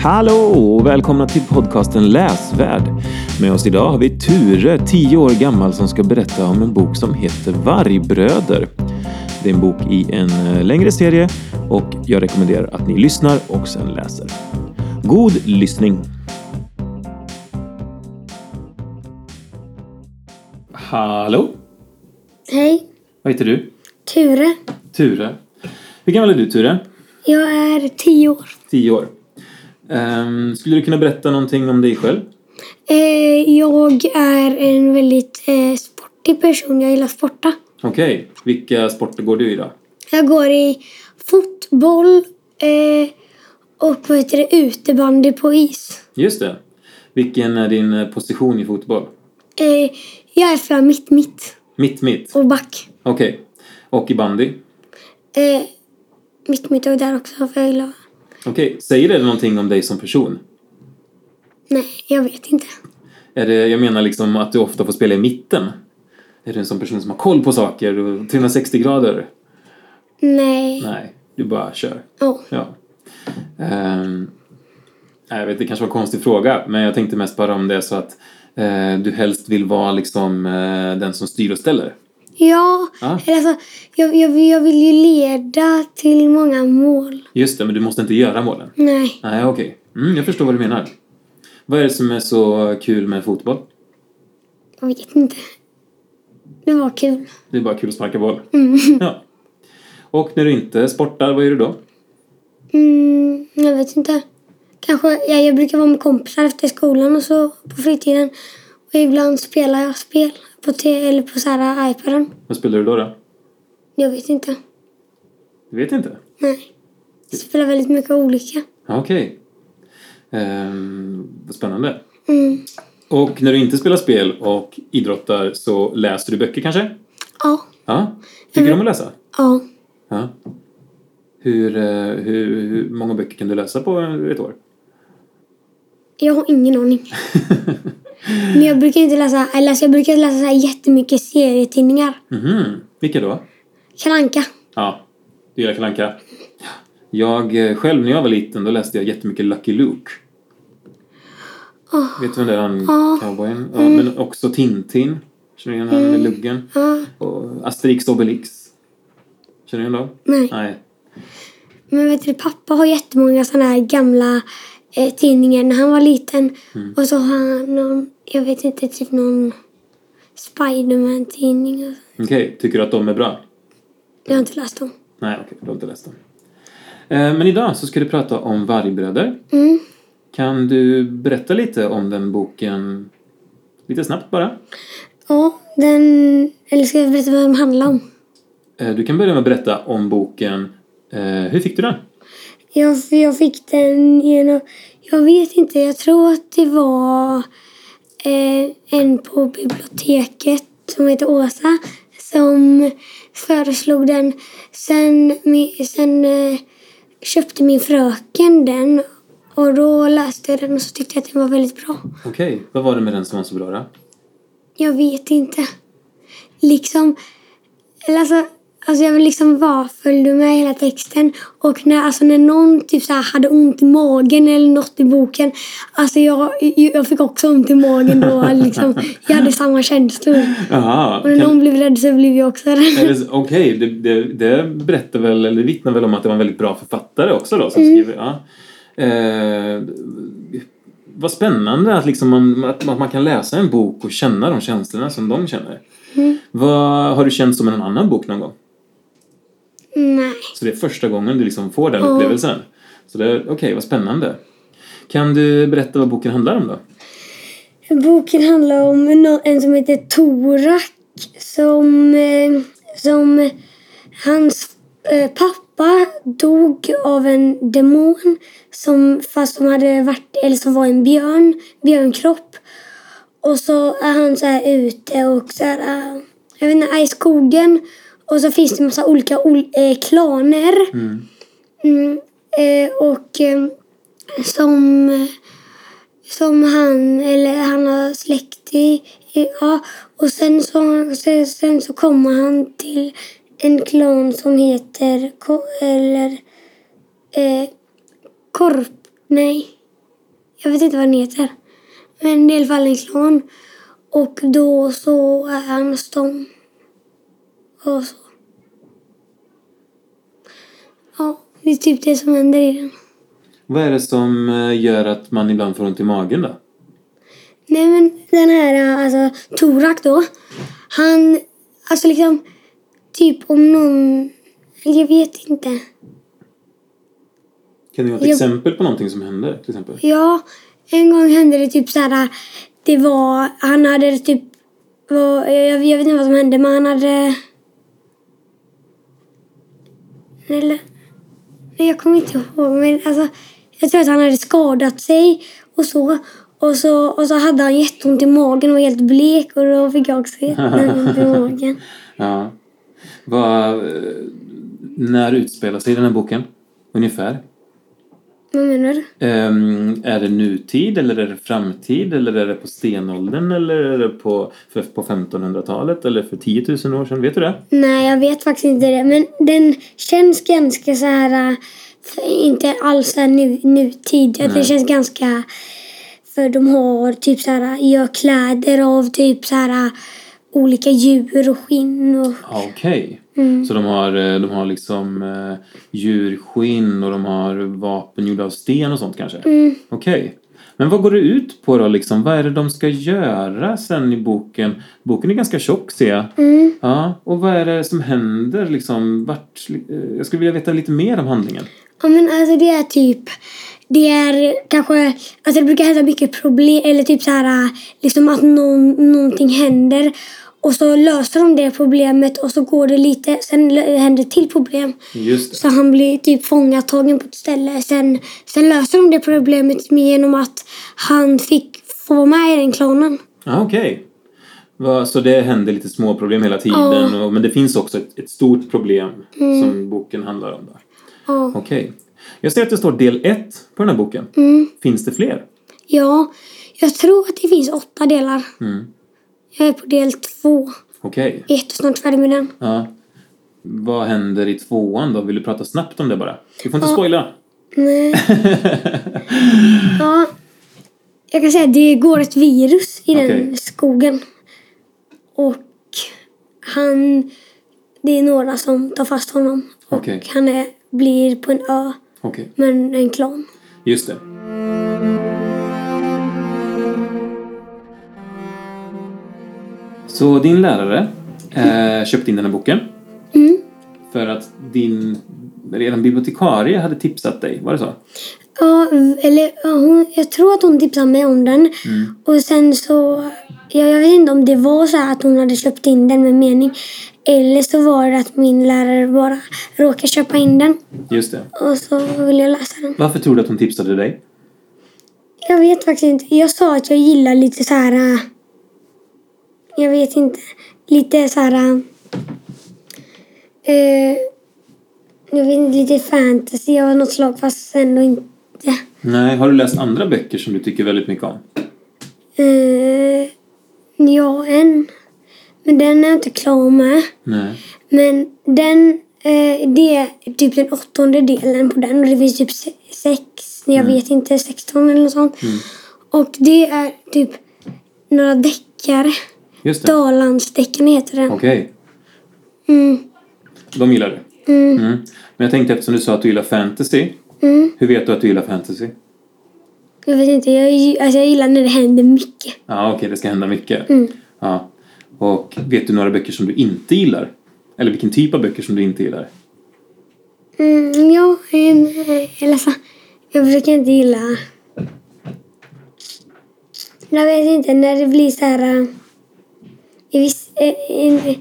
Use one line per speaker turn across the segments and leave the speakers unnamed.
Hallå och välkomna till podcasten Läsvärd. Med oss idag har vi Ture, 10 år gammal, som ska berätta om en bok som heter Vargbröder. Det är en bok i en eh, längre serie och jag rekommenderar att ni lyssnar och sen läser. God lyssning! Hallå!
Hej,
Vad heter du?
Ture.
Ture. Hur gammal är du Ture?
Jag är tio år.
10 år. Ehm, skulle du kunna berätta någonting om dig själv?
Eh, jag är en väldigt eh, sportig person. Jag gillar att sporta.
Okej, vilka sporter går du i då?
Jag går i fotboll eh, och vad heter det, utebandy på is.
Just det. Vilken är din eh, position i fotboll?
Eh, jag är fram mitt, mitt
Mitt, mitt.
och back.
Okej. Och i bandy?
Eh, mitt, mitt och där också för jag gillar.
Okej. Säger det någonting om dig som person?
Nej, jag vet inte.
Är det, jag menar liksom att du ofta får spela i mitten? Är du en sån person som har koll på saker? och 360 grader?
Nej.
Nej, du bara kör.
Ja.
Ja. Ehm, nej, jag vet, det kanske var en konstig fråga, men jag tänkte mest bara om det är så att eh, du helst vill vara liksom eh, den som styr och ställer.
Ja,
Ja.
eller alltså, jag, jag, jag vill ju leda till många mål.
Just det, men du måste inte göra målen.
Nej.
Nej, okej. Mm, jag förstår vad du menar. Vad är det som är så kul med fotboll?
Jag vet inte. Det var kul.
Det är bara kul att sparka boll. Ja. Och när du inte sportar, vad gör du då?
Mm, jag vet inte. Kanske, ja, jag brukar vara med kompisar efter skolan och så på fritiden. Och ibland spelar jag spel på, te- eller på så här äh, iPaden.
Vad spelar du då? då?
Jag vet inte.
Du vet inte?
Nej. Jag spelar väldigt mycket olika.
Ja, Okej. Ehm, vad spännande.
Mm.
Och när du inte spelar spel och idrottar så läser du böcker kanske?
Ja.
Ja. Tycker du om att läsa?
Ja.
Ja. Hur, eh, hur, hur många böcker kan du läsa på ett år?
Jag har ingen aning. Men jag brukar inte läsa, eller alltså jag brukar läsa så här jättemycket serietidningar.
Mhm. Vilka då?
Kalle Anka.
Ja, du gillar Kalle Anka. Jag eh, själv, när jag var liten, då läste jag jättemycket Lucky Luke.
Ah. Mm.
Vet du vem det är, han
Ja.
cowboyen? Ja, Men också Tintin. Känner du igen han med
Mm.
luggen?
Ja.
Och Asterix och Obelix. Känner du igen dem?
Nej.
Nej.
Men vet du, pappa har jättemånga sådana här gamla eh, tidningar när han var liten. Och så har han någon, jag vet inte, typ någon Spiderman-tidning. och så.
Okej, tycker du att de är bra?
Jag har inte läst dem.
Nej, okej, du har inte läst dem. Eh, Men idag så ska du prata om Vargbröder.
Mm.
Kan du berätta lite om den boken? Lite snabbt bara.
Ja, den... Eller ska jag berätta vad den handlar om?
Eh, Du kan börja med att berätta om boken. Eh, Hur fick du den?
Jag, jag fick den genom... Jag vet inte, jag tror att det var eh, en på biblioteket som heter Åsa som föreslog den. Sen, mi- sen eh, köpte min fröken den och då läste jag den och så tyckte jag att den var väldigt bra.
Okej, vad var det med den som var så bra då?
Jag vet inte. Liksom... Eller alltså, alltså jag vill liksom vara, följde med hela texten. Och när, alltså när någon typ så här hade ont i magen eller något i boken. Alltså jag, jag fick också ont i magen då. Liksom, jag hade samma känslor.
Jaha,
Och när
kan...
någon blev rädd så blev jag också rädd.
är det- okej, det, det, det berättar väl, eller vittnar väl om att det var en väldigt bra författare också då som
Mm.
skriver. Ja. Eh, vad spännande att, liksom man, att, att man kan läsa en bok och känna de känslorna som de känner.
Mm.
Vad, har du känt som i någon annan bok någon gång?
Nej.
Så det är första gången du liksom får den
Ja.
upplevelsen. Så det, okej, vad spännande. Kan du berätta vad boken handlar om då?
Boken handlar om nå- en som heter Torak som, eh, som hans eh, pappa dog av en demon som fast som hade varit eller som var en björn, björnkropp. Och så är han så här ute och så här, eh, jag vet inte, är i skogen och så finns det massa olika ol- eh, klaner. Mm, eh, och eh, som som han, eller han har släkt i. i- Ja, och sen så, sen, sen så kommer han till en klan som heter, Ko- eller, eh, Korp, nej, Jag vet inte vad den heter. Men det är i alla fall en klan. Och då så är han stång. Och så. Ja, det är typ det som händer i den.
Vad är det som eh, gör att man ibland får ont i magen då?
Nej men den här alltså Torak då. Han, alltså liksom, typ om någon, jag vet inte.
Kan du ge ett
Jag-
exempel på någonting som händer? Till exempel?
Ja, en gång hände det typ så här, det var, han hade typ, var, jag, jag vet inte vad som hände men han hade, eller, nej, jag kommer inte ihåg men alltså, jag tror att han hade skadat sig och så. Och så, och så hade han jätteont i magen och var helt blek och då fick jag också jätteont i magen.
Ja. Vad, eh, när utspelar sig den här boken? Ungefär.
Vad menar du?
Ehm, är det nutid eller är det framtid eller är det på stenåldern eller är det på, för, på 1500-talet eller för 10 000 år sedan? Vet du det?
Nej, jag vet faktiskt inte det. Men den känns ganska så här... äh, f- Inte alls så här nu, nutid. Att Den känns ganska... För de har typ så här... Gör kläder av typ så här... äh, Olika djur och skinn och...
Ja, Okej. Så de har, eh, de har liksom eh, djurskinn och de har vapen gjorda av sten och sånt kanske? Okej. Men vad går det ut på då liksom? Vad är det de ska göra sen i boken? Boken är ganska tjock ser jag. Ja, och vad är det som händer liksom? Vart, eh, jag skulle vilja veta lite mer om handlingen.
Ja men alltså det är typ, det är kanske, alltså det brukar hända mycket problem, eller typ så här, liksom att någon, någonting händer. Och så löser de det problemet och så går det lite, sen lö- händer till problem.
Just
Så han blir typ fångatagen på ett ställe. Sen, sen löser de det problemet med genom att han fick få vara med i den klanen.
Ja, okej. Va, Så det händer lite små problem hela tiden, och, men det finns också ett, ett stort problem som boken handlar om. Då.
Ja.
Okej. Jag ser att det står del 1 på den här boken. Finns det fler?
ja, jag tror att det finns åtta delar.
Mm.
Jag är på del två.
Okej.
Jag är jättesnart färdig med den.
Ja. Vad händer i tvåan då? Vill du prata snabbt om det bara? Du får inte spoila.
Nej. ja. Jag kan säga att det går ett virus i
Okej.
den skogen. Och han... Det är några som tar fast honom. Och
Okej.
han är, blir på en ö
Okej.
med en- en klan.
Just det. Så din lärare eh, köpte in den här boken. För att din redan bibliotekarie hade tipsat dig, var det så?
Ja, eller ja, hon, jag tror att hon tipsade mig om den. Och sen så, jag, jag vet inte om det var så här att hon hade köpt in den med mening. Eller så var det att min lärare bara råkade köpa in den.
Just det.
Och så ville jag läsa den.
Varför tror du att hon tipsade dig?
Jag vet faktiskt inte. Jag sa att jag gillar lite så här... äh, Jag vet inte. Lite så här... äh, Eh, jag vet inte, lite fantasy av något slag fast ändå inte.
Nej, har du läst andra böcker som du tycker väldigt mycket om?
Eh, ja, en. Men den är jag inte klar med.
Nej.
Men den, eh, det är typ den åttonde delen på den och det finns typ se- sex, jag vet inte, 16 eller något sånt. Och det är typ några deckare.
Just det.
Dalandsdeckarna heter den.
Okej.
Mm.
De gillar du? Mm. Men jag tänkte eftersom du sa att du gillar fantasy.
Mm.
Hur vet du att du gillar fantasy?
Jag vet inte, jag, gi- alltså jag gillar när det händer mycket.
Ja, okej, det ska hända mycket. Ja. Och vet du några böcker som du inte gillar? Eller vilken typ av böcker som du inte gillar?
Mm, ja, en, eh, eller så, jag brukar inte gilla... Jag vet inte, när det blir så här... eh, I viss, eh, i,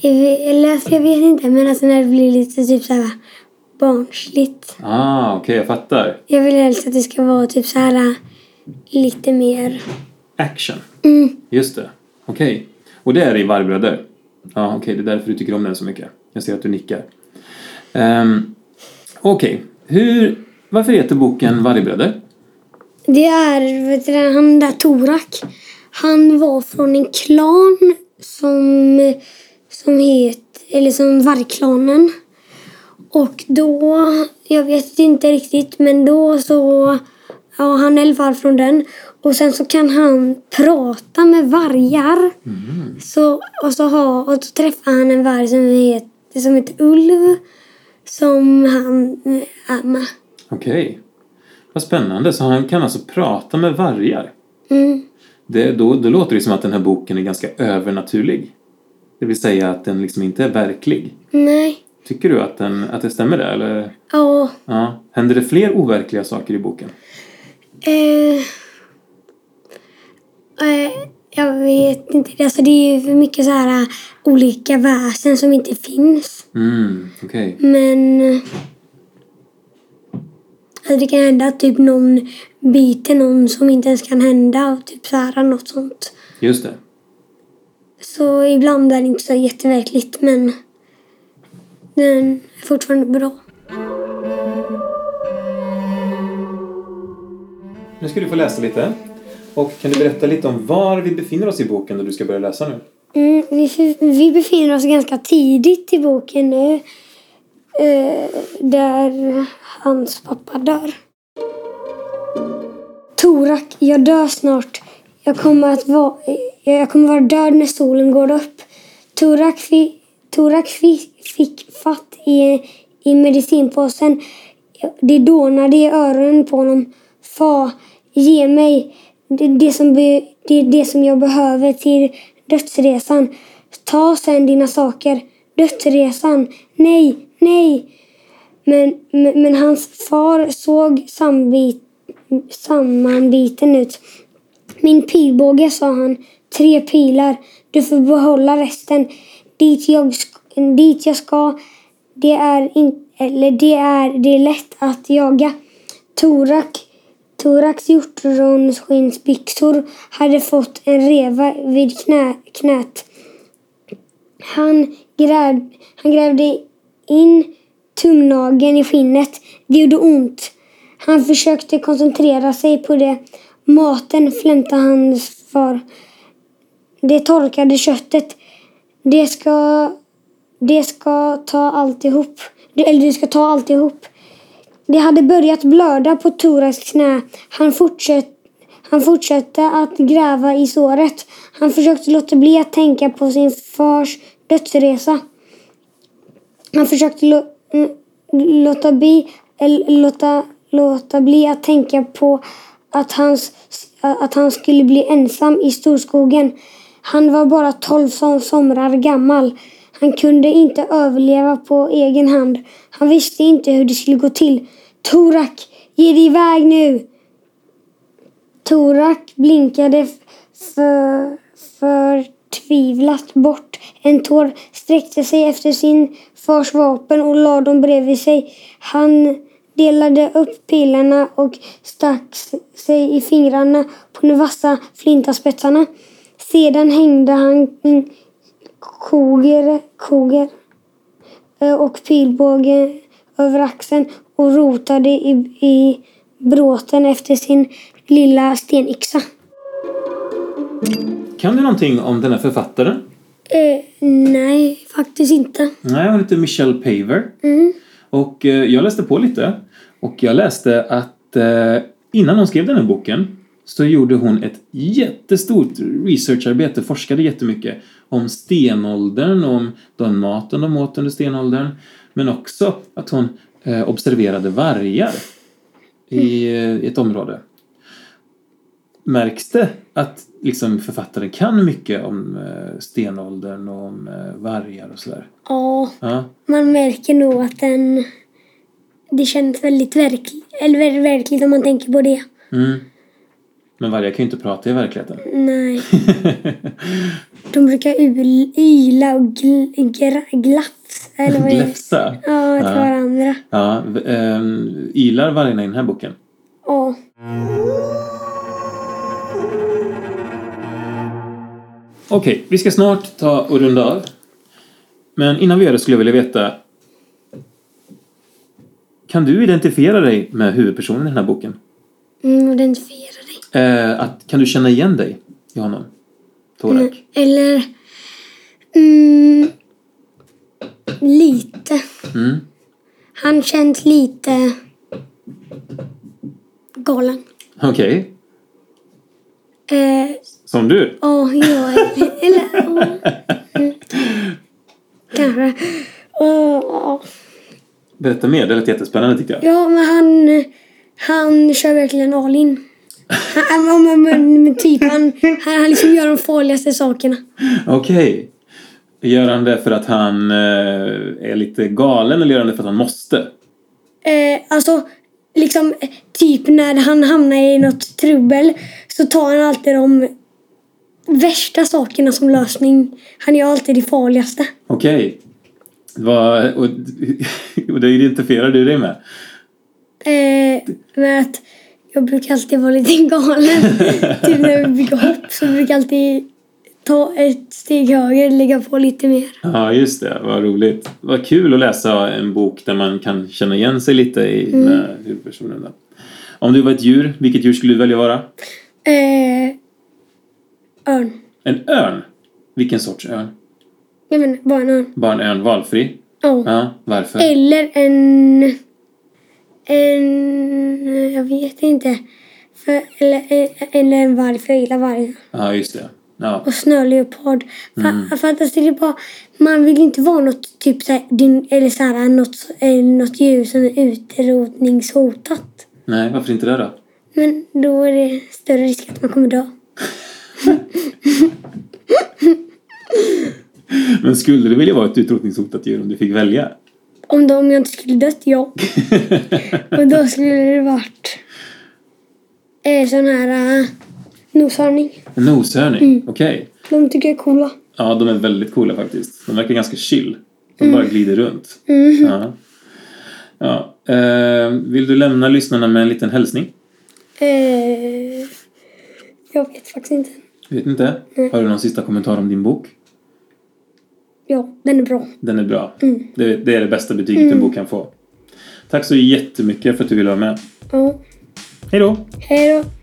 i, eller alltså, jag vet inte, men alltså när det blir lite typ så här barnsligt.
Ah, okej, jag fattar.
Jag vill helst att det ska vara typ så här eh, lite mer...
Action.
Mm.
Just det. Okej. Och det är i Vargbröder? Ja, okej, det är därför du tycker om den så mycket. Jag ser att du nickar. Ehm, okej, hur... Varför heter boken Vargbröder?
Det är, vet du, det, han där Torak. Han var från en klan som, som het, eller som vargklanen. Och då, jag vet inte riktigt, men då så Ja, han är i alla fall från den. Och sen så kan han prata med vargar. Så, och, så ha, och så träffar han en varg som heter, som heter Ulv. Som han eh, ammar.
Okej. Vad spännande. Så han kan alltså prata med vargar?
Mm.
Det, då, då låter det som att den här boken är ganska övernaturlig. Det vill säga att den liksom inte är verklig.
Nej.
Tycker du att, den, att det stämmer där? Eller?
Ja.
Ja. Händer det fler overkliga saker i boken?
Eh, eh, jag vet inte. Alltså det är ju för mycket så här eh, olika väsen som inte finns.
Mm, okej.
Men eh, alltså det kan hända att typ någon biter någon som inte ens kan hända. Och typ så här något sånt.
Just det.
Så ibland är det inte så jätteverkligt men den är fortfarande bra.
Nu ska du få läsa lite. Och kan du berätta lite om var vi befinner oss i boken när du ska börja läsa nu?
Mm, vi, vi befinner oss ganska tidigt i boken nu. Eh, där hans pappa dör. Torak, jag dör snart. Jag kommer att vara, jag kommer vara död när solen går upp. Torak, fi, Torak fi, fick fatt i, i medicinpåsen. Det dånade i öronen på honom. Fa, ge mig det, det, som, be, det, det som jag behöver till dödsresan. Ta sen dina saker. Dödsresan. Nej, nej. Men, men, men hans far såg sambit, sammanbiten ut. Min pilbåge, sa han. Tre pilar. Du får behålla resten. Dit jag, sk- dit jag ska. Det är, in, eller det är det är lätt att jaga. Torak, Toraks hjortronsskinnsbyxor hade fått en reva vid knä, knät. Han, gräv, han grävde in tumnageln i skinnet. Det gjorde ont. Han försökte koncentrera sig på det. Maten flämtade hans far. Det torkade köttet. Det ska... Det ska ta alltihop. Det- Eller du ska ta alltihop. Det hade börjat blöda på Toraks knä. Han, fortsätt, han fortsatte att gräva i såret. Han försökte låta bli att tänka på sin fars dödsresa. Han försökte lå- mm, låta, bli, eller låta, låta bli att tänka på att, hans, att han skulle bli ensam i storskogen. Han var bara tolv som somrar gammal. Han kunde inte överleva på egen hand. Han visste inte hur det skulle gå till. Torak, ge dig iväg nu! Torak blinkade f- för, förtvivlat bort. En tår sträckte sig efter sin fars vapen och lade dem bredvid sig. Han delade upp pilarna och stack s- sig i fingrarna på de vassa flintaspetsarna. Sedan hängde han en koger, koger eh, och pilbåge över axeln och rotade i, i bråten efter sin lilla stenyxa.
Kan du någonting om den här författaren?
Eh, nej, faktiskt inte.
Nej, hon heter Michelle Paver.
Mm.
Och eh, jag läste på lite. Och jag läste att eh, innan hon skrev den här boken så gjorde hon ett jättestort researcharbete, forskade jättemycket om stenåldern, om den maten de åt under stenåldern. Men också att hon eh, observerade vargar i eh, ett område. Märks det att liksom, författaren kan mycket om eh, stenåldern och om eh, vargar och sådär?
Ja,
Ja.
man märker nog att den... Det känns väldigt verkligt, eller ver- verkligt om man tänker på det.
Mm. Men vargar kan ju inte prata i verkligheten.
Nej. De brukar ul- yla och gl- gra- glafs, eller vad är det?
Gläfsa.
Ja, till
Ja.
varandra.
Ja, v- ehm, ylar vargarna i den här boken?
Ja.
Okej, vi ska snart ta och runda av. Men innan vi gör det skulle jag vilja veta... Kan du identifiera dig med huvudpersonen i den här boken?
Mm, identifiera dig.
Eh, att, kan du känna igen dig i honom? Torak?
Eller... Mm, lite.
Mm.
Han känns lite galen.
Okej.
Eh,
Som du?
Ja, jag är... Eller... ja. Mm. Kanske. Ja, ja.
Berätta mer, det lät jättespännande tyckte jag.
ja, men han... Han kör verkligen all in. Han, ja, men, men, men typ, han, han, han liksom gör de farligaste sakerna.
Okej. Gör han det för att han eh, är lite galen eller gör han det för att han måste?
Eh, alltså, liksom eh, typ när han hamnar i något trubbel så tar han alltid de värsta sakerna som lösning. Han gör alltid det farligaste.
Okej. Vad- Och, och det identifierar du dig med?
Eh, med att jag brukar alltid vara lite galen. typ när vi brukar hopp så brukar jag alltid ta ett steg höger, lägga på lite mer.
Ja, just det. Vad roligt. Vad kul att läsa en bok där man kan känna igen sig lite i med huvudpersonerna. Om du var ett djur, vilket djur skulle du välja vara?
Eh, örn.
En örn? Vilken sorts örn?
Jag menar, bara en örn.
Bara en örn, valfri?
Ja.
Ja, varför?
Eller en... En... Jag vet inte. För, eller, eller en varg, för jag gillar vargar.
Ja, just det. Ja,
Och snöleopard. Mm. Fattas det är bara... Man vill inte vara något typ så här, din, eller så här, något, eller något djur som är utrotningshotat.
nej, varför inte det då?
Men då är det större risk att man kommer dö.
Men skulle du vilja vara ett utrotningshotat djur om du fick välja?
Om, då, om jag inte skulle dött, ja. Och då skulle det varit... Eh, sån här... Eh, noshörning.
En noshörning? Okej.
De tycker jag är coola.
Ja, de är väldigt coola faktiskt. De verkar ganska chill. De bara glider runt. Ja. Ja. Eh, vill du lämna lyssnarna med en liten hälsning?
Eh, jag vet faktiskt inte.
Vet inte. Har du någon sista kommentar om din bok?
Ja, den är bra.
Den är bra. Det, det är det bästa betyget en bok kan få. Tack så jättemycket för att du ville vara med.
Ja.
Hej då!
Hej då.